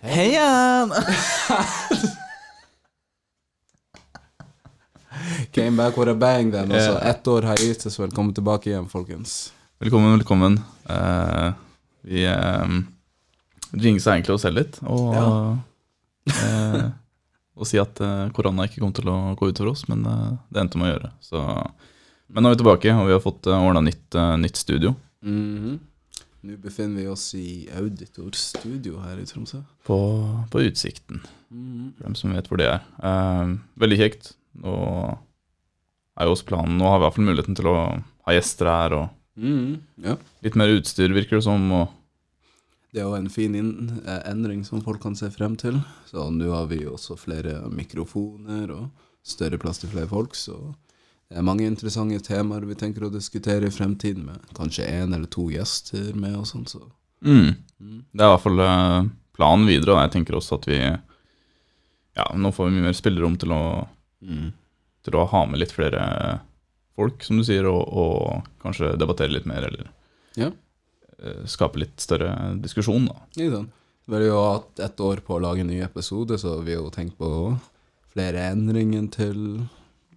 Heian! Came back with a bang then. Og så Ja. ett år hiatus. Velkommen tilbake igjen, folkens. Velkommen, velkommen. Eh, vi uh, jinxa egentlig oss selv litt. Og, eh, og si at eh, korona ikke kom til å gå utover oss, men eh, det endte med å gjøre. Så, men nå er vi tilbake, og vi har fått uh, ordna nytt, eh, nytt studio Nå befinner vi oss i Auditor Studio her i Tromsø. på, på Utsikten, for dem som vet hvor det er. Eh, veldig kjekt. Nå er jo også planen Nå har vi i hvert fall muligheten til å ha gjester her, og Ja. litt mer utstyr, virker det som. og Det er jo en fin inn- eh, endring som folk kan se frem til. Så nå har vi jo også flere mikrofoner og større plass til flere folk, så det er mange interessante temaer vi tenker å diskutere i fremtiden med kanskje én eller to gjester med og sånn, så Mm. Det er i hvert fall eh, planen videre. Og jeg tenker også at vi Ja, nå får vi mye mer spillerom til å, Mm. til å ha med litt flere folk, som du sier, og, og kanskje debattere litt mer, eller Ja. eh, skape litt større diskusjon, da. Ikke sant. Vi har jo hatt ett år på å lage en ny episode, så vi har jo tenkt på flere endringer til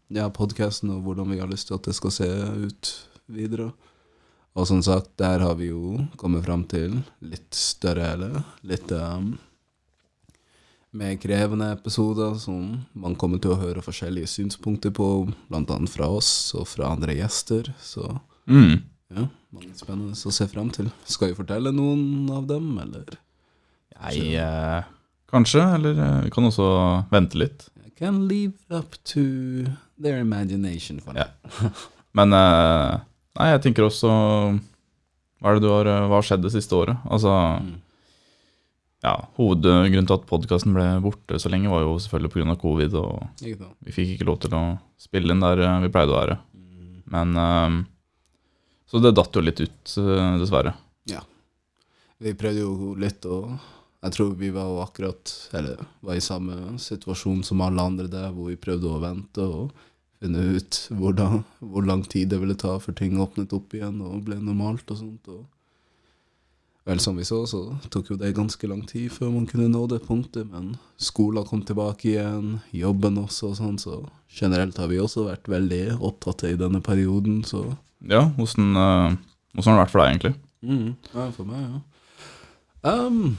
ja, podkasten og hvordan vi har lyst til at det skal se ut videre. Og som sagt, der har vi jo kommet fram til litt større eller litt ehm, mer krevende episoder som man kommer til å høre forskjellige synspunkter på, blant annet fra oss og fra andre gjester. Så ja, mange spennende å se fram til. Skal vi fortelle noen av dem, eller? Jeg eh, Kanskje, eller eh, vi kan også vente litt. I can leave it up to their imagination for Ja. now. Men eh, Nei, jeg tenker også Hva er det du har eh, Hva har skjedd det siste året? Altså Mm. Ja, hovedgrunnen til at podkasten ble borte så lenge, var jo selvfølgelig pga. covid, og Ikke sant? vi fikk ikke lov til å spille inn der eh, vi pleide å være. Men eh, Så det datt jo litt ut, eh, dessverre. Vi prøvde jo litt å Jeg tror vi var jo akkurat Eller var i samme situasjon som alle andre der, hvor vi prøvde å vente og finne ut hvordan, hvor lang tid det ville ta før ting åpnet opp igjen og ble normalt og sånt. Og vel, som vi så, så tok jo det ganske lang tid før man kunne nå det punktet, men skolen kom tilbake igjen, jobben også og sånn, så generelt har vi også vært veldig opptatt i denne perioden, så Ja, åssen eh, åssen har det vært for deg, egentlig? Mm. Ja, for meg, ja. Ehm,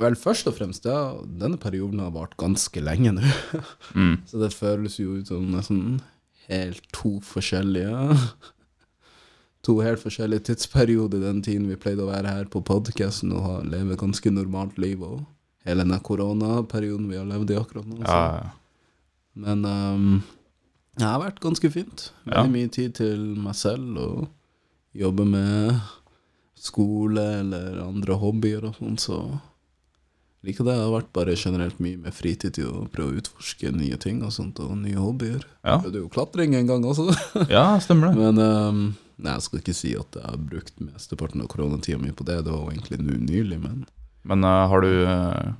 vel, først og fremst, ja, denne perioden har vart ganske lenge nå. Mm. Så det føles jo ut som nesten helt to forskjellige To helt forskjellige tidsperioder den tiden vi pleide å være her på podkasten og ha- leve ganske normalt liv, og hele denne koronaperioden vi har levd i akkurat nå. så- Ja, men ehm, det har vært ganske fint. Veldig Ja. mye tid til meg selv og jobbe med skole eller andre hobbyer og sånn, så liker det. Det har vært bare generelt mye med fritid til å prøve å utforske nye ting og sånt, og nye hobbyer. ja, Prøvde jo klatring en gang også. ja stemmer det. Men ehm, nei, jeg skal ikke si at jeg har brukt mesteparten av koronatida mi på det. Det var jo egentlig nå nylig, men Men eh, har du eh,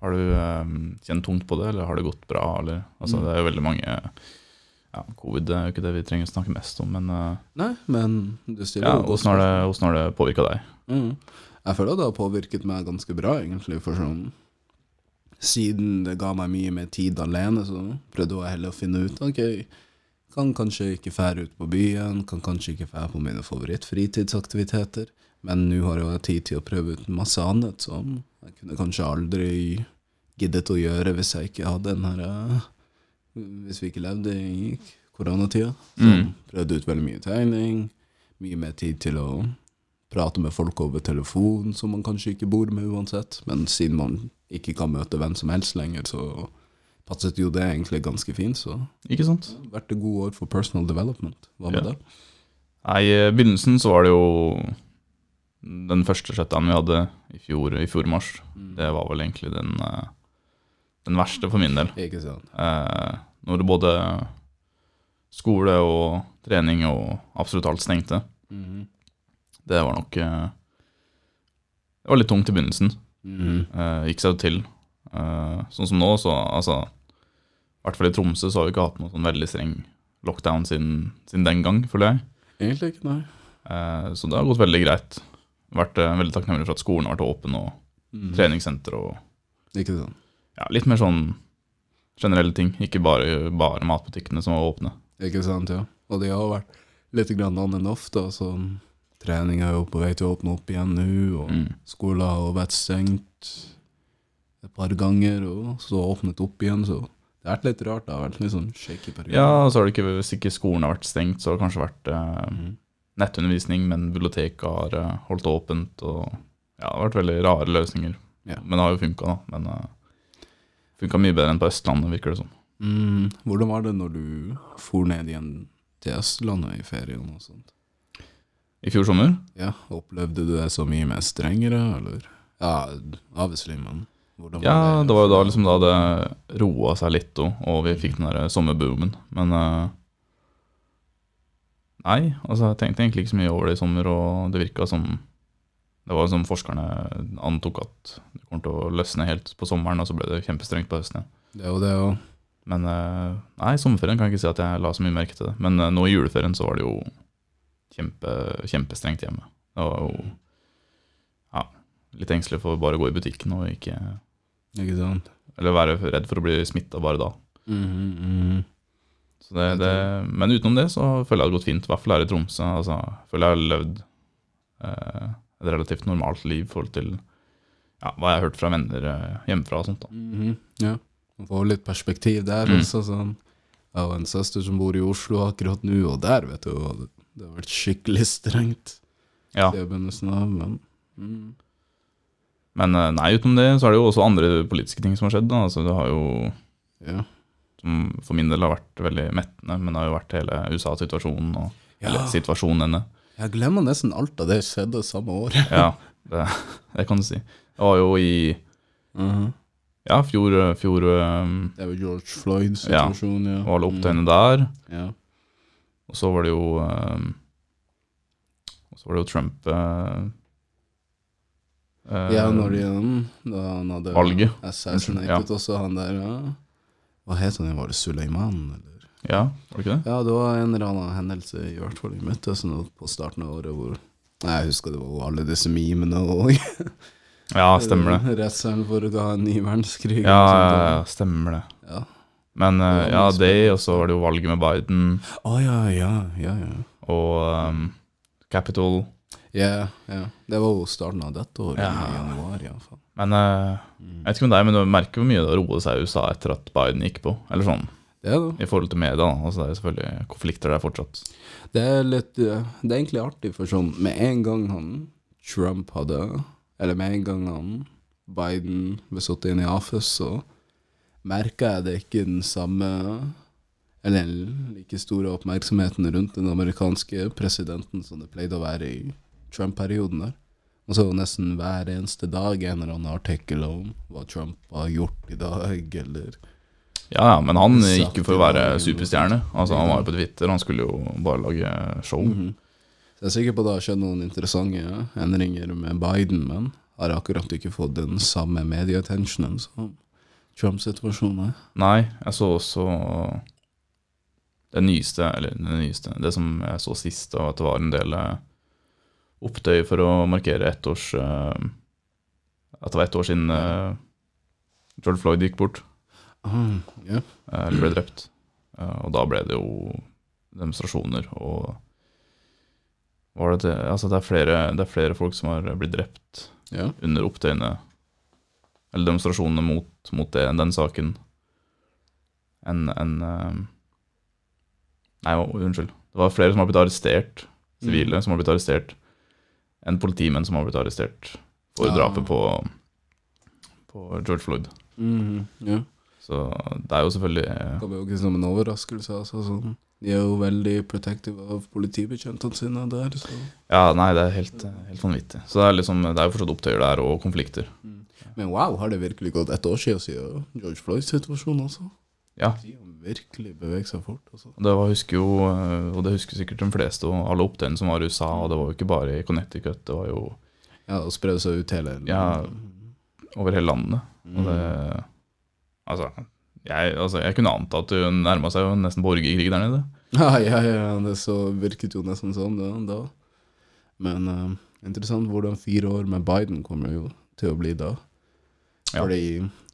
Har du eh, kjent tungt på det, eller har det gått bra? Eller? Altså, Mm. Det er jo veldig mange ja, Covid er jo ikke det vi trenger å snakke mest om, men eh, Nei, men du stiller ja, jo godt åssen har det, hvordan har det påvirka deg? Mm. Jeg føler det har påvirket meg ganske bra, egentlig, for sånn Siden det ga meg mye mer tid alene, så prøvde jeg heller å finne ut OK, kan kanskje ikke fære ut på byen, kan kanskje ikke fære på mine favorittfritidsaktiviteter, men nå har jeg jo tid til å prøve ut masse annet som jeg kunne kanskje aldri giddet å gjøre hvis jeg ikke hadde den her eh, Hvis vi ikke levde i koronatida. Så Mm. prøvde ut veldig mye tegning, mye mer tid til å prate med folk over telefon som man kanskje ikke bor med uansett. Men siden man ikke kan møte hvem som helst lenger, så passet jo det egentlig ganske fint. Så Ikke sant? det har vært et godt år for personal development. Hva med Ja. det? Nei, I begynnelsen så var det jo den første shutdown vi hadde i fjor, i fjor mars. Det var vel egentlig den, eh, den verste for min del. Ikke sant? Eh, når både skole og trening og absolutt alt stengte. Mhm. Det var nok eh, Det var litt tungt i begynnelsen. Mhm. Eh, Gikk seg jo til. Eh, Sånn som nå, så altså I hvert fall i Tromsø så har vi ikke hatt noen sånn veldig streng lockdown siden, siden den gang, føler jeg. Egentlig ikke, nei. Eh, Så det har gått veldig greit. Vært eh, veldig takknemlig for at skolen har vært åpen, og Mhm. treningssenter og Ikke sånn. Ja, litt mer sånn generelle ting. Ikke bare, bare matbutikkene som var åpne. Ikke sant, ja. Og de har vært litt grann on and off, da. Så trening er jo på vei til å åpne opp igjen nå, og Mm. skolen har vært stengt et par ganger, og så åpnet opp igjen, så det har vært litt rart. Det har vært litt sånn shaky periode. Ja, og så har det ikke, Hvis ikke skolen har vært stengt, så har det kanskje vært eh, Mhm. nettundervisning, men biblioteket har eh, holdt åpent. og ja, Det har vært veldig rare løsninger. Ja. Men det har jo funka, da. Men uh, funka mye bedre enn på Østlandet, virker det som. Mm, hvordan var det når du for ned igjen til Østlandet i ferien og sånt? I fjor sommer Ja, opplevde du det så mye mer strengere, eller? Ja, obviously, men hvordan Ja, det var jo da liksom da det roa seg litt, og, og vi fikk den der eh, sommerboomen. Men eh, Nei, altså jeg tenkte egentlig ikke så mye over det i sommer, og det virka som Det var som forskerne antok at det kommer til å løsne helt på sommeren, og så ble det kjempestrengt på høsten. igjen. Det er jo det, og Men eh, nei, sommerferien kan jeg ikke si at jeg la så mye merke til det. Men eh, nå i juleferien så var det jo kjempe, kjempestrengt hjemme. Det var jo ja, litt engstelig for bare å gå i butikken og ikke Ikke sant? Eller være redd for å bli smitta bare da. Mhm, mhm. Så det, det, men utenom det så føler jeg det har gått fint. I hvert fall her i Tromsø. Altså, jeg føler jeg har levd eh, et relativt normalt liv i forhold til ja, hva jeg har hørt fra venner eh, hjemmefra og sånt. da. Mhm, Ja. Man får litt perspektiv der Mm. også. Sånn. Jeg har en søster som bor i Oslo akkurat nå, og der, vet du, og det, det har vært skikkelig strengt Ja. siden begynnelsen av, men mm. Men eh, nei, utenom det så er det jo også andre politiske ting som har skjedd. Da. Altså, det har jo, ja. som for min del har vært veldig mettende, men det har jo vært hele USA-situasjonen og ja. eller, situasjonen henne. Jeg glemmer nesten alt av det som skjedde samme år. Ja, det, det kan du si. Det var jo i Mhm. ja, fjor, fjor eh, Det er jo George Floyds situasjon, ja. og alle opptøyene der. Mm, Ja. Og så var det jo eh, Og så var det jo Trump eh, eh, ja, når de da han hadde Valget. assassinated også, han der ja. Hva het han? Var det Suleiman, eller? Ja, var det ikke det? Ja, det var en eller annen hendelse i hvert fall i Midtøsten og på starten av året hvor Nei, jeg husker det var jo alle disse memene og Ja, stemmer det. Redselen for å ha en ny verdenskrig. Ja, og ja, ja, sånt, stemmer det. og- ja. Men eh, Det var ja, mye det, og så var det jo valget med Biden Å Ah, ja, ja, ja, ja. og eh, Capitol. Ja, ja. Det var jo starten av dette året, Ja. i januar i hvert fall. Men eh, Mm. jeg vet ikke om det er, men du merker hvor mye det roet seg i USA etter at Biden gikk på. Eller sånn, Det er det. i forhold til media. da. Altså, det er selvfølgelig konflikter der fortsatt. Det er litt eh, Det er egentlig artig, for sånn med en gang han Trump hadde Eller med en gang han Biden ble satt inn i AFES, så merka jeg det ikke den samme Eller den like store oppmerksomheten rundt den amerikanske presidenten som det pleide å være i Trump-perioden der. Og så nesten hver eneste dag en eller annen artikkel om hva Trump har gjort i dag, eller Ja, ja, men han Satt gikk jo for å i være dag, superstjerne. Altså, han var jo på Twitter, han skulle jo bare lage show. Så jeg er sikker på det har skjedd noen interessante endringer med Biden, men har akkurat ikke fått den samme medieattentionen som Trump-situasjonen. er. Nei, jeg så også det nyeste, eller det nyeste, det som jeg så sist, og at det var en del eh, opptøy for å markere ett års eh, At det var ett år siden eh, George Floyd gikk bort, Ah, ja. eh, eller ble drept. Eh, Og da ble det jo demonstrasjoner og var det, det, altså det, er flere, det er flere folk som har blitt drept ja. under opptøyene eller demonstrasjonene mot, mot det, den saken enn enn, eh, Nei, å, unnskyld. Det var flere som har blitt arrestert, sivile som har blitt arrestert, enn politimenn som har blitt arrestert for Ja. drapet på, på George Floyd. Mhm, ja. Så det er jo selvfølgelig eh, Det kommer jo ikke som en overraskelse. Altså, sånn. De er jo veldig protective av politibetjentene sine der. Så. Ja, nei, det er helt, eh, helt vanvittig. Så det er liksom, det er jo fortsatt opptøyer der, og konflikter. Men wow, har det virkelig gått ett år siden, siden George Floyds situasjon også? Ja. De har virkelig beveget seg fort. Altså. Og Det var, husker jo, eh, og det husker sikkert de fleste, og alle opptøyene som var i USA, og det var jo ikke bare i Connecticut, det var jo Ja, og spre seg ut hele Ja, over hele landet. Og det, altså, jeg, altså, jeg kunne anta at det nærma seg jo nesten borgerkrig der nede. Ja, ja, ja, det så virket jo nesten sånn da. da. Men eh, interessant hvordan fire år med Biden kommer jo til å bli da. Ja. Fordi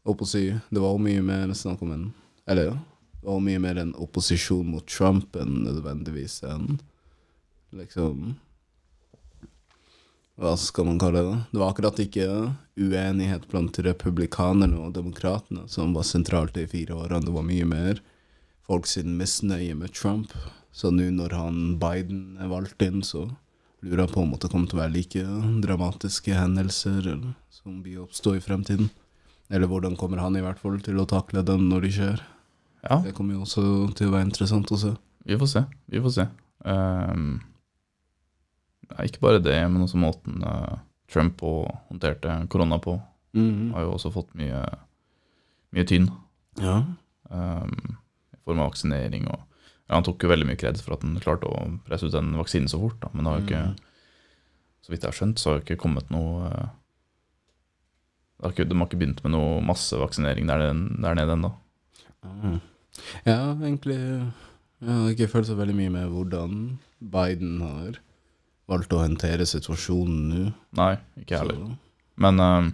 holdt på å si, det var jo mye mer snakk om en Eller ja, det var jo mye mer en opposisjon mot Trump enn nødvendigvis en liksom Hva skal man kalle det? Det var akkurat ikke uenighet blant republikanerne og demokratene som var sentralt i fire årene. Det var mye mer folk sin misnøye med Trump. Så nå når han Biden er valgt inn, så lurer jeg på om det kommer til å være like dramatiske hendelser eller, som vil oppstå i fremtiden. Eller hvordan kommer han i hvert fall til å takle den når de skjer? Ja, Det kommer jo også til å være interessant å se. vi får se. Vi får se. Ehm, nei, ikke bare det, men også måten eh, Trump og håndterte korona på, Mhm. har jo også fått mye, mye tynn Ja. ehm, i form av vaksinering. og ja, Han tok jo veldig mye kreds for at han klarte å presse ut den vaksinen så fort. Da. Men det har jo ikke, Mhm. så vidt jeg har skjønt, så har det ikke kommet noe eh, det har ikke, De har ikke begynt med noe massevaksinering der, den- der nede ennå. Mhm. Ja, egentlig Jeg har ikke følt så veldig mye med hvordan Biden har valgt å håndtere situasjonen nå. Nei, ikke jeg heller. Så- Men eh,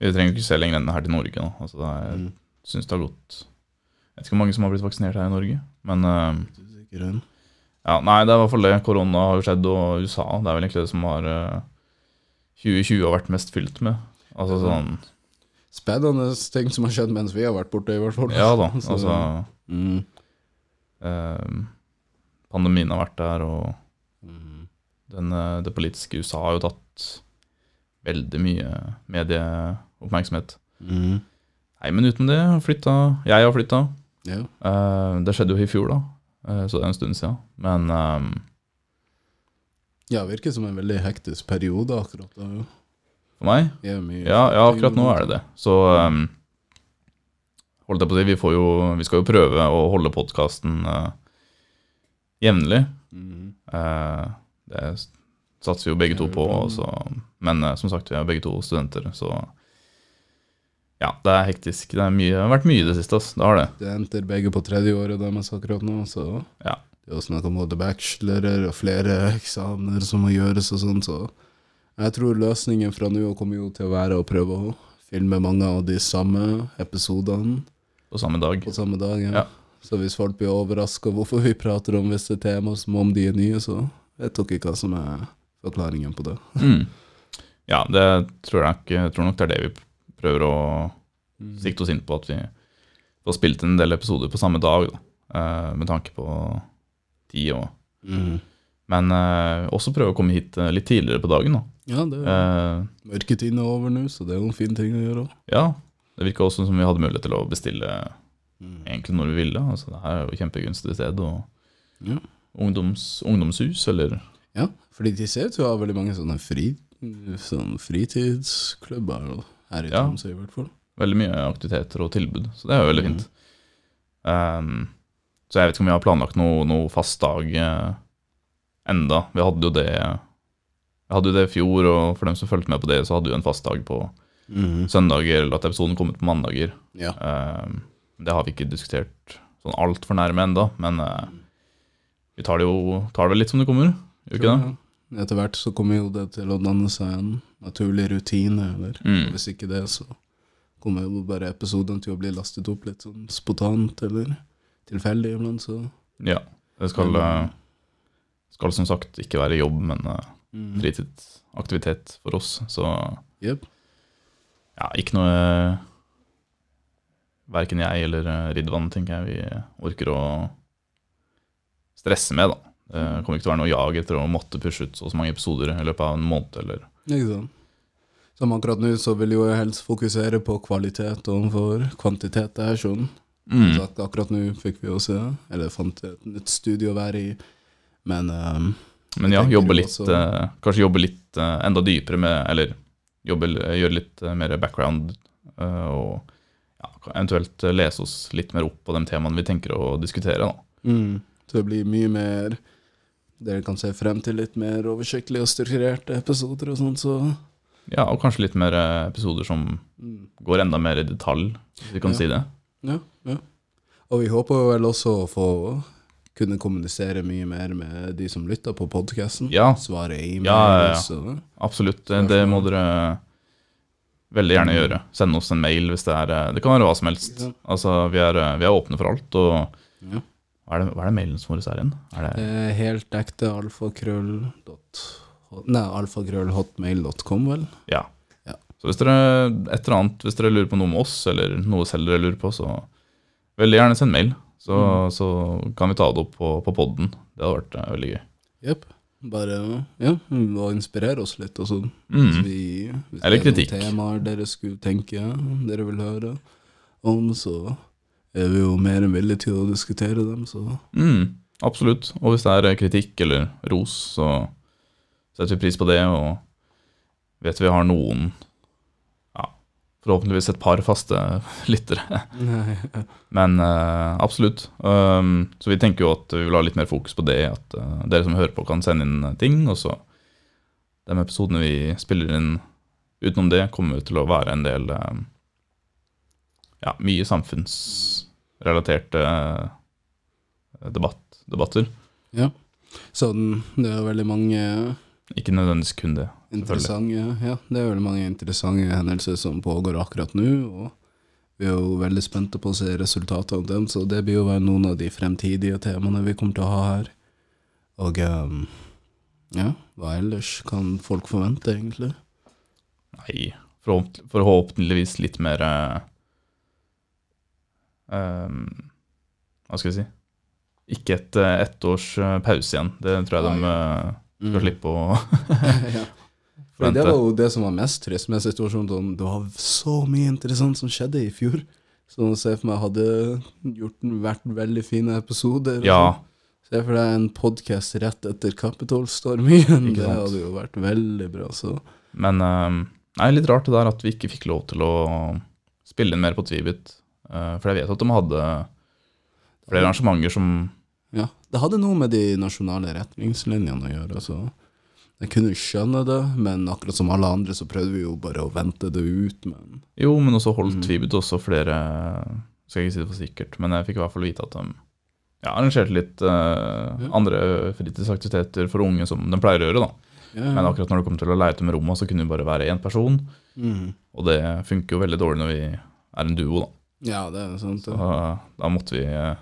vi trenger jo ikke se lenger enn her til Norge. Da. Altså, det er, Mhm. synes det har gått Jeg vet ikke hvor mange som har blitt vaksinert her i Norge. Men eh, Usikker hun. ja, nei, det er i hvert fall det. Korona har jo skjedd, og USA. Det er vel egentlig det som har eh, 2020 har vært mest fylt med. Altså sånn Spennende ting som har skjedd mens vi har vært borte, i hvert fall. Ja da, Så- altså Mm. eh, Pandemien har vært der, og Mhm. den, eh, det politiske USA har jo tatt veldig mye medieoppmerksomhet. Mhm. Nei, men uten det, flytta Jeg har flytta. Ja. Eh, det skjedde jo i fjor, da, eh, så det er en stund siden. Men eh, ja, virker som en veldig hektisk periode akkurat. da. for meg Det er mye ja, ja, akkurat nå er det det. Så eh, holdt jeg på å si, vi, får jo, vi skal jo prøve å holde podkasten uh, jevnlig. Mhm. Eh, det s- satser vi jo begge to på. og så- men eh, som sagt, vi er begge to studenter, så ja, det er hektisk. Det, er mye, det har vært mye i det siste. ass, Det har det. Studenter begge på tredjeåret deres akkurat nå, så Ja. det er jo snakk om både bachelorer og flere eksamener som må gjøres og sånn, så jeg tror løsningen fra nå av kommer jo til å være å prøve å filme mange av de samme episodene På samme dag. på samme dag. Ja. Ja. Så hvis folk blir overraska hvorfor vi prater om visse temaer som om de er nye, så vet dere hva som er forklaringen på det. Mm. Ja, det tror jeg, ikke, jeg tror nok det er det vi prøver å sikte oss inn på. At vi får spilt en del episoder på samme dag, da, eh, med tanke på tid og Mm. Men eh, også prøve å komme hit eh, litt tidligere på dagen. da. Ja, det er Eh, mørketiden er over nå, så det er jo en fin ting å gjøre òg. ja, det virka også som vi hadde mulighet til å bestille egentlig når vi ville. altså Det her er jo kjempegunstig sted. og Ja. ungdoms, Ungdomshus, eller ja, fordi de ser ut til å ha veldig mange sånne fri, sånn fritidsklubber og- her i Ja. Tromsø, i hvert fall. veldig mye aktiviteter og tilbud. Så det er jo veldig fint. Ehm, så jeg vet ikke om vi har planlagt noe, noe fast dag eh, enda. Vi hadde jo det Jeg hadde jo det i fjor, og for dem som fulgte med på det, så hadde vi jo en fast dag på søndager, eller at episoden kom ut på mandager. Mhm. Ja. Ehm, det har vi ikke diskutert sånn altfor nærme enda, men eh, vi tar det jo tar det vel litt som det kommer. Gjør vi ikke det? Etter hvert så kommer jo det til å danne seg en naturlig rutine, eller Mm. Hvis ikke det, så kommer jo bare episoden til å bli lastet opp litt sånn spontant eller tilfeldig iblant, så Mm, Ja. Det skal, eh, skal som sagt ikke være jobb, men eh, mm. fritidsaktivitet for oss. Så ja, Jep. ikke noe Verken jeg eller eh, Ridvan tenker jeg vi orker å stresse med, da. Det Mm. kommer ikke til å være noe jag etter å måtte pushe ut så og så mange episoder i løpet av en måned eller Ikke sant. Som akkurat nå så vil jo jeg helst fokusere på kvalitet overfor kvantitet der, sånn. mm. Så at akkurat nå fikk vi jo se, eller fant et nytt studie å være i, men ehm, Men ja, tenker jobbe jo litt også- eh, Kanskje jobbe litt eh, enda dypere med Eller jobbe, gjøre litt eh, mer background eh, og ja, eventuelt eh, lese oss litt mer opp på de temaene vi tenker å diskutere, da. mm, så det blir mye mer Dere kan se frem til litt mer oversiktlige og strukturerte episoder og sånn, så Ja, og kanskje litt mer eh, episoder som mm. går enda mer i detalj, hvis vi kan Ja. si det. Ja, ja. Og vi håper jo vel også å få kunne kommunisere mye mer med de som lytter på podkasten. Ja. Eh, Svare e-mails Ja, ja, ja. og Absolutt. Det må dere veldig gjerne gjøre. Send oss en mail hvis det er eh, Det kan være hva som helst. Ja. Altså, vi er, eh, vi er åpne for alt. Og Ja. hva er det, hva er det mailen som vår er igjen? Er det, Eh, Helt ekte alfakrøll dot- Nei, alfakrøllhotmail.com, vel? ja. Ja. Så hvis dere, et eller annet, hvis dere lurer på noe med oss, eller noe selv dere lurer på, så veldig gjerne send mail. Så, Mm. så kan vi ta det opp på, på podden. Det hadde vært eh, veldig gøy. Jepp. Bare ja, og inspirere oss litt, og sånn. Mm. Hvis vi, hvis Eller det er noen kritikk. temaer dere skulle tenke dere vil høre om, så er vi jo mer enn villige til å diskutere dem, så Mm, absolutt. Og hvis det er eh, kritikk eller ros, så setter vi pris på det, og vet vi har noen ja, Forhåpentligvis et par faste lyttere. Nei. Men eh, absolutt. Um, så vi tenker jo at vi vil ha litt mer fokus på det, at eh, dere som hører på, kan sende inn eh, ting. Og så de episodene vi spiller inn utenom det, kommer til å være en del eh, Ja, mye samfunnsrelaterte eh, debatt, debatter. Sånn, det er veldig mange Ikke nødvendigvis kun det. interessante Ja, det er veldig mange interessante hendelser som pågår akkurat nå, og vi er jo veldig spente på å se resultatene av dem, så det blir jo være noen av de fremtidige temaene vi kommer til å ha her. Og ehm, ja, hva ellers kan folk forvente, egentlig? Nei, forhåpent- forhåpentligvis litt mer eh, ehm, Hva skal jeg si? Ikke et eh, ett års eh, pause igjen. Det tror jeg de eh, skal slippe å ja. Mm. Fordi det Forvente. var jo det som var mest trist med situasjonen. Sånn, det var så mye interessant som skjedde i fjor. Så nå ser jeg for meg hadde gjort den vært veldig fine episoder. og Ja, sånn. Se for deg en podkast rett etter Kapitolstormien. Ikke Det sant. hadde jo vært veldig bra. Så. men ehm, Nei, litt rart det der at vi ikke fikk lov til å spille inn mer på Tvibit. eh, for jeg vet at de hadde flere arrangementer som Ja. Det hadde noe med de nasjonale retningslinjene å gjøre. Så. Jeg kunne jo skjønne det, men akkurat som alle andre så prøvde vi jo bare å vente det ut. Men Jo, men også holdt Mm. Tvibit også flere Skal jeg ikke si det for sikkert, men jeg fikk i hvert fall vite at de ja, arrangerte litt eh, Ja. andre fritidsaktiviteter for unge, som de pleier å gjøre. da. ja, Men akkurat når det kom til å leie ut med rommet, så kunne det bare være én person. mm. Og det funker jo veldig dårlig når vi er en duo, da. ja det er sant. Så Det. eh, da måtte vi eh,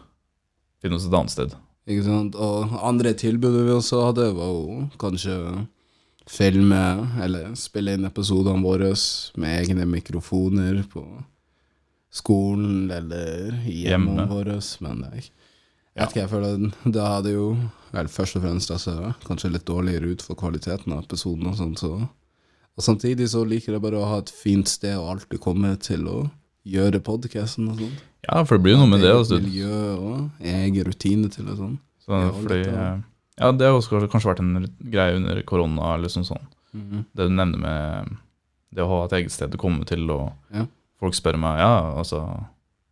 finne oss et annet sted. Ikke sant? Og andre tilbudet vi også hadde, var jo kanskje filme eller spille inn episodene våre med egne mikrofoner på skolen eller i hjemmene Hjemme. våre. Men jeg, jeg vet ikke, jeg føler da hadde jo vel, først og fremst altså, kanskje litt dårligere ut for kvaliteten av episoden og sånt. Så. Og samtidig så liker jeg bare å ha et fint sted å alltid komme til å gjøre podkasten og sånt. Ja, for det blir jo noe med det. Altså. Eget Miljø og egen rutine til og sånn. Så, Ja, fordi, litt, ja. eh, ja, det har også kanskje vært en greie under korona, eller sånn sånn. Mhm. det du nevner med det å ha et eget sted å komme til, og Ja. folk spør meg ja, altså,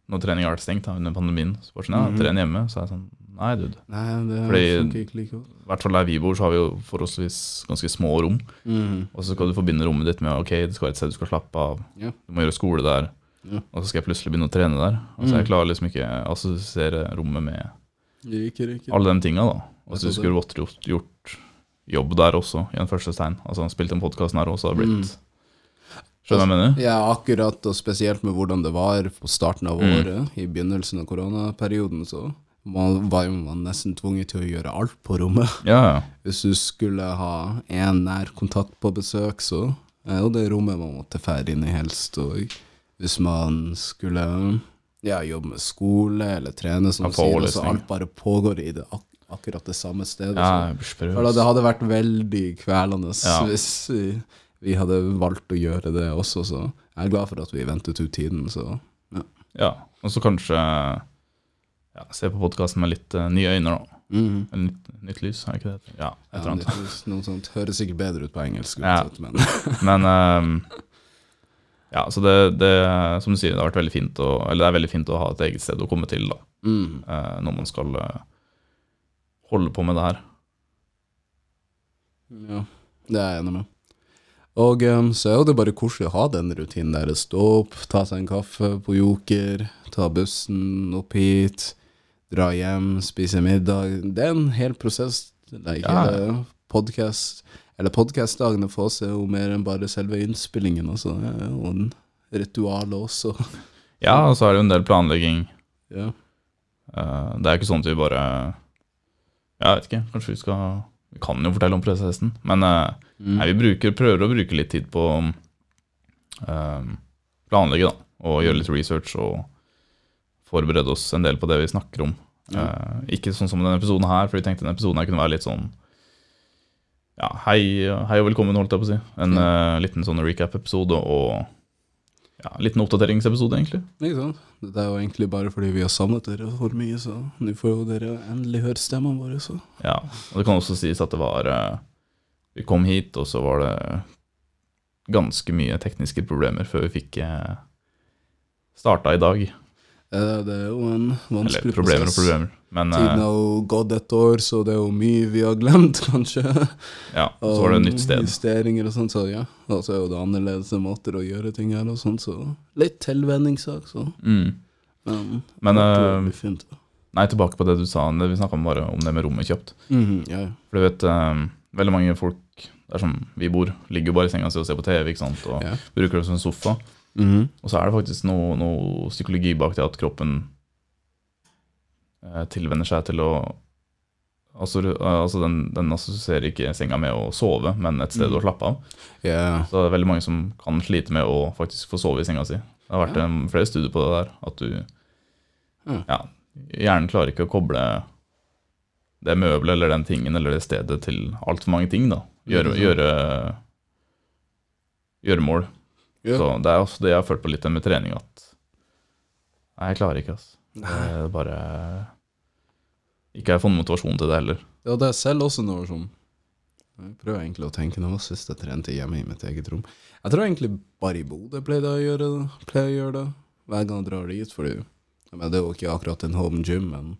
når trening har vært stengt da, under pandemien, så bare sånn, ja, Mhm. tren hjemme, så er jeg sånn, nei, dude. Nei, det Fordi- funker ikke like godt. I hvert fall der vi bor, så har vi jo forholdsvis ganske små rom, Mm. og så skal du forbinde rommet ditt med, ok, det skal være et sted du skal slappe av, Ja. du må gjøre skole der, Ja. og så skal jeg plutselig begynne å trene der, og så Mhm. jeg klarer liksom ikke å assosiere rommet med Liker ikke. alle de tinga da, og så Nettopp skulle du godt gjort, gjort jobb der også, i en første stein, altså han spilte en podcast her også, har blitt, Mhm. skjønner du hva jeg mener? Ja, akkurat, og spesielt med hvordan det var på starten av Mm. året, i begynnelsen av koronaperioden, så man var jo man nesten tvunget til å gjøre alt på rommet. Ja, ja. Hvis du skulle ha én nær kontakt på besøk, så er jo det rommet man måtte fære inn i helst. Og hvis man skulle ja, jobbe med skole eller trene, som Ja, du sier, så forelesning. alt bare pågår i det, ak akkurat det samme stedet. Ja, så- jeg blir sprø, For da, ass. det hadde vært veldig kvelende Ja. hvis vi, vi hadde valgt å gjøre det også, så jeg er glad for at vi ventet ut tiden, så Ja, og så kanskje ja, se på podkasten med litt eh, nye øyne, da. mm. Eller nytt, nytt lys, er ikke det? det heter? Ja, et ja, eller annet. nytteløst, Noe sånt høres sikkert bedre ut på engelsk, Ja. uansett, men Men ehm, ja, så det, det, som du sier, det har vært veldig fint å, eller det er veldig fint å ha et eget sted å komme til da, mm. eh, når man skal eh, holde på med det her. ja, det er jeg enig med. Og em, så er jo det bare koselig å ha den rutinen der. Stå opp, ta seg en kaffe på Joker, ta bussen opp hit, dra hjem, spise middag. Det er en hel prosess. Det er ikke Ja. det podcast Eller podkastdagene for oss er jo mer enn bare selve innspillingen. Altså, det er jo en ritual også. Ja, og så er det jo en del planlegging. Ja. Eh, Det er jo ikke sånn at vi bare Jeg vet ikke, kanskje vi skal Vi kan jo fortelle om prosessen, men eh, Mm. nei, vi bruker, prøver å bruke litt tid på å planlegge, da. Og gjøre Mm. litt research og forberede oss en del på det vi snakker om. Ja. Eh, ikke sånn som denne episoden her, for vi tenkte denne episoden her kunne være litt sånn ja, hei, hei og velkommen, holdt jeg på å si. Mm. En eh, liten sånn recap-episode og ja, en liten oppdateringsepisode, egentlig. Ikke sant? Det er jo egentlig bare fordi vi har savnet dere for mye, så nå får jo dere endelig høre stemmene våre. Så. Ja, og det kan også sies at det var eh, Vi kom hit, og så var det ganske mye tekniske problemer før vi fikk eh, starta i dag. Eh, Det er jo en Eller vanskelig problemer og problemer, men eh, Tiden har jo gått et år, så det er jo mye vi har glemt, kanskje. ja, så var det et nytt sted. Justeringer og sånt, så ja. Og så er jo det annerledes måter å gjøre ting her og sånt, så litt tilvenningssak, så. Mm. Men, Men, det eh, blir fint. da. Nei, tilbake på det du sa, det vi snakka om, bare om det med rommet kjøpt. Mhm, ja, ja. For du vet, eh, veldig mange folk der som vi bor, ligger jo bare i senga si og ser på TV, ikke sant, og Ja. bruker det som en sofa. Mhm. Og så er det faktisk noe, noe psykologi bak det at kroppen eh, tilvenner seg til å Altså, eh, altså den, den assosierer ikke senga med å sove, men et sted Mm. å slappe av. Ja. Så det er veldig mange som kan slite med å faktisk få sove i senga si. Det har vært Ja. eh, flere studier på det der. At du Mm. Ja, hjernen klarer ikke å koble det møbelet eller den tingen eller det stedet til altfor mange ting, da. Ikke Gjøre, sant. gjøre Gjøremål. Ja. Så det er også det jeg har følt på litt med trening, at Nei, jeg klarer ikke, altså. Det er bare Ikke har jeg funnet motivasjon til det heller. Ja, det er selv også noe som Jeg prøver egentlig å tenke nå, sist jeg trente hjemme i mitt eget rom. Jeg tror egentlig bare i Bodø pleide jeg å gjøre det. Pleier å gjøre det. Hver gang jeg drar dit, fordi ja, men det er jo ikke akkurat en home gym, men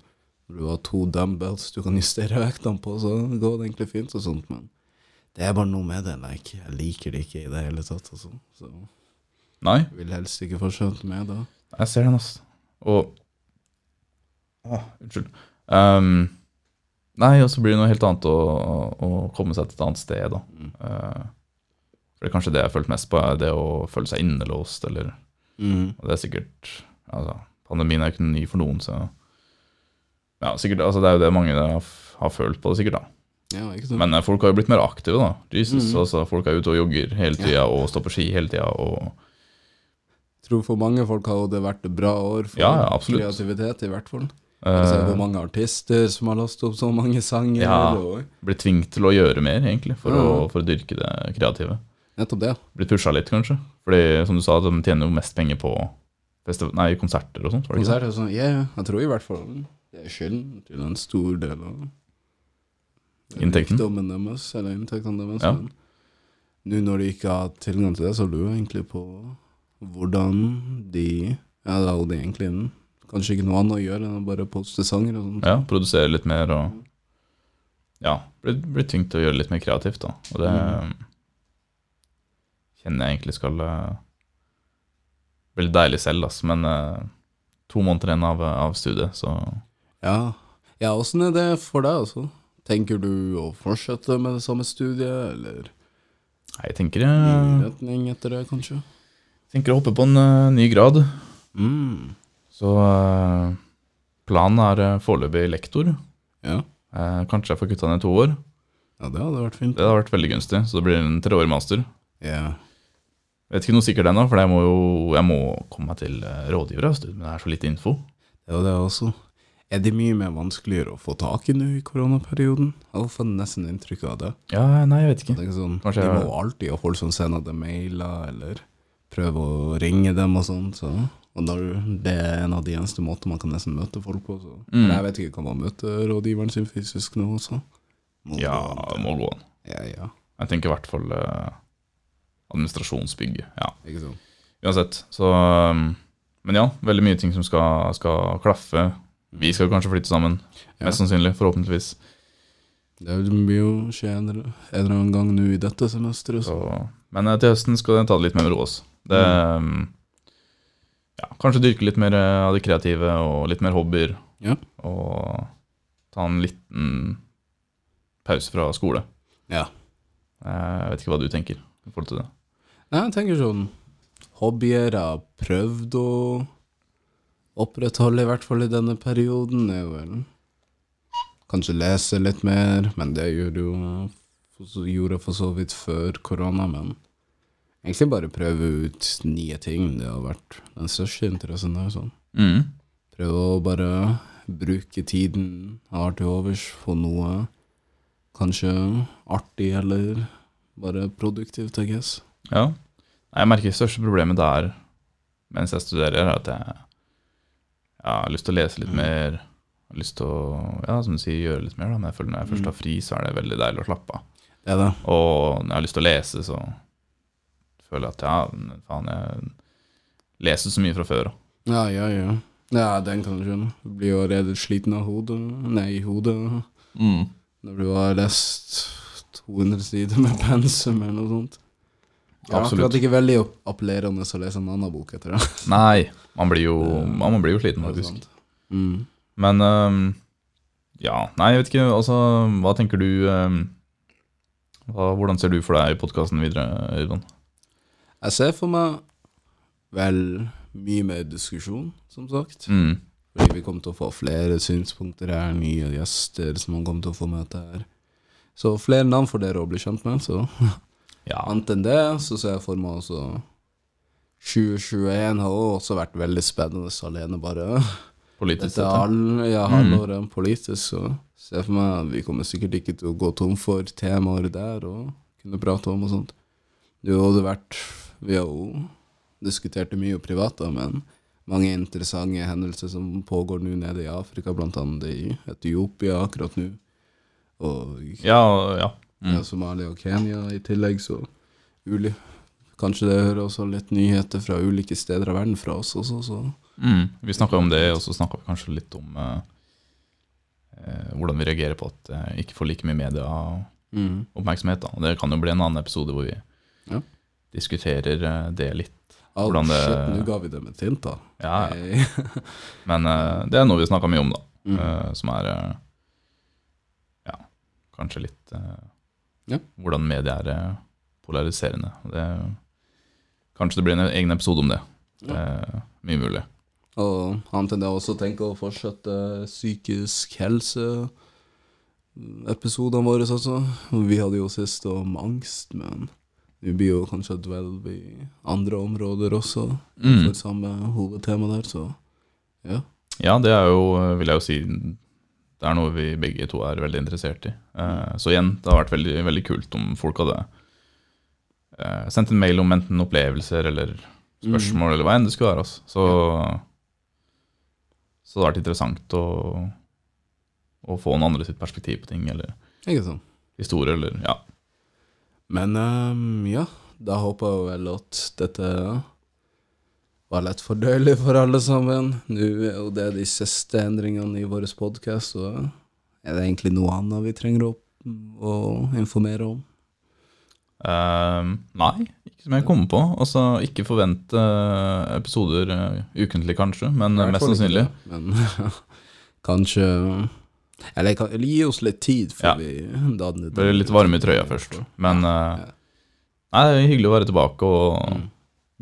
når du har to dumbbells du kan justere vektene på, så går det egentlig fint og sånt, men det er bare noe med det. Like, jeg liker det ikke i det hele tatt, altså. Så jeg Nei, vil helst ikke fortsette med det. jeg ser den, altså. Og Åh, Unnskyld. Ehm, nei, og så blir det noe helt annet å, å komme seg til et annet sted, da. Mm. Eh, for det er kanskje det jeg har følt mest på, er det å føle seg innelåst, eller Mm. Og det er sikkert altså, Pandemien er jo ikke ny for noen, så ja, sikkert, altså, Det er jo det mange der har, f- har følt på det, sikkert. da. Ja, ikke sant? Men eh, folk har jo blitt mer aktive, da. Jesus, Mhm. altså, Folk er ute og jogger hele tida og står på ski hele tida. og Jeg tror for mange folk har jo det vært et bra år for Ja, ja, absolutt. kreativitet, i hvert fall. Vi ser hvor eh, mange artister som har lagt opp så mange sanger. Ja. Og blir tvunget til å gjøre mer, egentlig, for, å, Mhm. for å dyrke det kreative. nettopp det. Blitt pusha litt, kanskje. Fordi, som du sa, de tjener jo mest penger på festi- nei, konserter og sånt. var det ikke Konsert det? er sånn, ja, ja, jeg tror i hvert fall det er skylden til en stor del av Inntekten. rikdommen deres, eller inntektene deres. Ja. Men nå når de ikke har tilgang til det, så lurer jeg egentlig på hvordan de Ja, det hadde egentlig kanskje ikke noe annet å gjøre enn å bare poste sanger og sånn. Ja, produsere litt mer og Ja, bli, bli tvunget til å gjøre det litt mer kreativt, da. Og det Mm. kjenner jeg egentlig skal eh, bli litt deilig selv, altså. Men eh, to måneder igjen av, av studiet, så Ja. ja, åssen er det for deg, altså? Tenker du å fortsette med det samme studiet, eller Nei, jeg tenker, ny jeg, retning etter det, kanskje? tenker å hoppe på en eh, ny grad. Mm. Så eh, planen er eh, foreløpig lektor. Ja. Eh, kanskje jeg får kutta ned to år. ja, det hadde vært fint. Det hadde vært veldig gunstig, så det blir en treårig master. Ja. Vet ikke noe sikkert ennå, for jeg må jo jeg må komme meg til eh, rådgiver. altså, Men det er så lite info. Det var det også. Er det mye mer vanskeligere å få tak i nå i koronaperioden? Jeg har fått nesten inntrykk av det. Ja, nei, jeg vet Jeg ikke. tenker sånn, Kanskje de må jeg- jo alltid ha folk som sender dem mailer, eller prøve å ringe dem og sånt. Så. Og da, det er en av de eneste måtene man kan nesten møte folk på. Så. Mm. Men jeg vet ikke, kan man møte rådgiveren sin fysisk nå også? Må Ja, gå an. må gå an. ja, ja. Jeg tenker i hvert fall eh, administrasjonsbygget. Ja, Ikke sant? uansett. Så um, Men ja, veldig mye ting som skal, skal klaffe. Vi skal kanskje flytte sammen. Ja. Mest sannsynlig. Forhåpentligvis. Det blir jo skje en en eller annen gang nå i dette semesteret. Så. Så, men eh, til høsten skal jeg ta det litt mer med ro. også. Det Mm. um, ja, Kanskje dyrke litt mer eh, av det kreative og litt mer hobbyer. Ja. Og ta en liten pause fra skole. Ja. Eh, Jeg vet ikke hva du tenker i forhold til det. Nei, jeg tenker sånn Hobbyer jeg har prøvd å opprettholde, i hvert fall i denne perioden, er vel Kanskje lese litt mer, men det gjorde jo for så- gjorde jeg for så vidt før korona, men egentlig bare prøve ut nye ting. Det har vært den største interessen. Der, sånn. Mm. Prøve å bare bruke tiden jeg har til overs på noe kanskje artig eller bare produktivt, I guess. Ja. Nei, Jeg merker det største problemet der mens jeg studerer, er at jeg, jeg har lyst til å lese litt Mm. mer. Har lyst til å ja, som du sier, gjøre litt mer. Da. Men jeg føler når Mm. jeg først har fri, så er det veldig deilig å slappe av. Det er det. Og når jeg har lyst til å lese, så føler jeg at ja, men faen, jeg leser så mye fra før. da. Ja, ja, ja. Ja, den kan du skjønne. Du blir jo allerede sliten av hodet. Nei, i hodet. Mm. Når du har lest 200 sider med pensum eller noe sånt. Det er Absolutt. akkurat ikke veldig opp- appellerende å lese en annen bok etter det. Nei, man blir jo, man blir jo sliten, Det er faktisk. sant. Mm. Men øhm, ja, nei, jeg vet ikke. Altså, hva tenker du øhm, hva, Hvordan ser du for deg podkasten videre, Øyvind? Jeg ser for meg vel mye mer diskusjon, som sagt. Mm, Fordi vi kommer til å få flere synspunkter her, nye gjester som man kommer til å få møte her. Så flere navn for dere å bli kjent med, så ja. Annet enn det, så ser jeg for meg også 2021 har også vært veldig spennende alene, bare. Politisk Dette sett. ja. halv, ja, halvåret politisk, så ser jeg for meg vi kommer sikkert ikke til å gå tom for temaer der og kunne prate om og sånt. Det har jo vært Vi har jo diskutert det mye privat, da, men mange interessante hendelser som pågår nå nede i Afrika, blant annet i Etiopia akkurat nå. Og Ja, ja. Mm. ja, Somalia og Kenya i tillegg, så uli. Kanskje det hører også litt nyheter fra ulike steder av verden fra oss også, så Mm, vi snakka om det, og så snakka vi kanskje litt om eh, eh, hvordan vi reagerer på at eh, ikke får like mye medieoppmerksomhet. mm. da. Det kan jo bli en annen episode hvor vi Ja. diskuterer eh, det litt. Au, Hvordan det- Ah, Shit, nå ga vi dem et hint, da. Ja, ja. Hey. Men eh, det er noe vi snakka mye om, da. Mm. eh, som er eh, ja, kanskje litt eh, Ja. hvordan media er eh, polariserende. Og Det, kanskje det blir en egen episode om det. Det er mye mulig. Og han tender også å tenke å fortsette psykisk helse-episodene våre også. Vi hadde jo sist om angst, men vi blir jo kanskje å dvelve i andre områder også, Mm. for samme hovedtema der, så ja. Ja, det er jo, eh, vil jeg jo si, det er noe vi begge to er veldig interessert i. Eh, Så igjen, det har vært veldig, veldig kult om folk hadde eh, sendt en mail om enten opplevelser eller spørsmål, eller hva enn det skulle være. Altså. Så, så det har vært interessant å, å få noen andre sitt perspektiv på ting, eller Ikke sant? historier, eller ja. Men ehm, ja, da håper jeg vel at dette var lett fordøyelig for alle sammen. Nå er jo det de siste endringene i vår podkast, så er det egentlig noe annet vi trenger å, å informere om. Ehm, nei, ikke som jeg kommer på. Altså, ikke forvent eh, episoder eh, ukentlig, kanskje, men I hvert mest fall ikke sannsynlig. det, Men kanskje Eller kan, eller gi oss litt tid før Ja. vi da den- Blir litt varme i trøya først. Men eh, nei, det er hyggelig å være tilbake og Mm.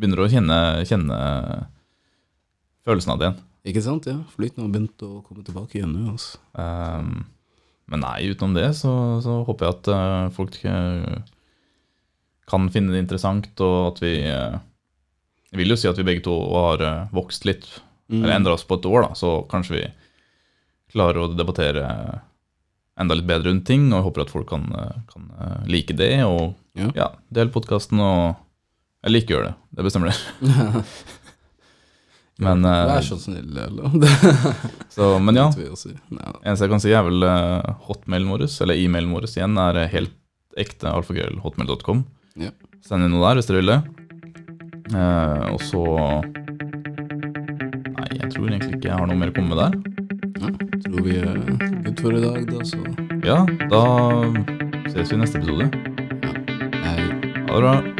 begynner å kjenne, kjenne følelsen av det igjen. Ikke sant? Ja. Flyten har begynt å komme tilbake igjen nå, altså. Ehm, men nei, utenom det så, så håper jeg at eh, folk eh, kan finne det interessant, og at vi eh, Jeg vil jo si at vi begge to har eh, vokst litt, eller endra oss på et år, da, så kanskje vi klarer å debattere enda litt bedre rundt ting, og jeg håper at folk kan, eh, kan eh, like det, og Ja. ja, del podkasten og Eller ikke gjør det, det bestemmer dere. Men, eh, Mm. Vær så snill, eller? Det Så, Men ja, vet vi å si. Nei, Eneste jeg kan si er vel eh, hotmailen vår, eller e-mailen vår igjen, er eh, helt ekte alfakrøllhotmail.com. Ja. Send inn noe der hvis dere vil det. Eh, og så Nei, jeg tror egentlig ikke jeg har noe mer å komme med der. tror vi er good for i dag, da, så Ja, da ses vi i neste episode. Hei. Ha det bra.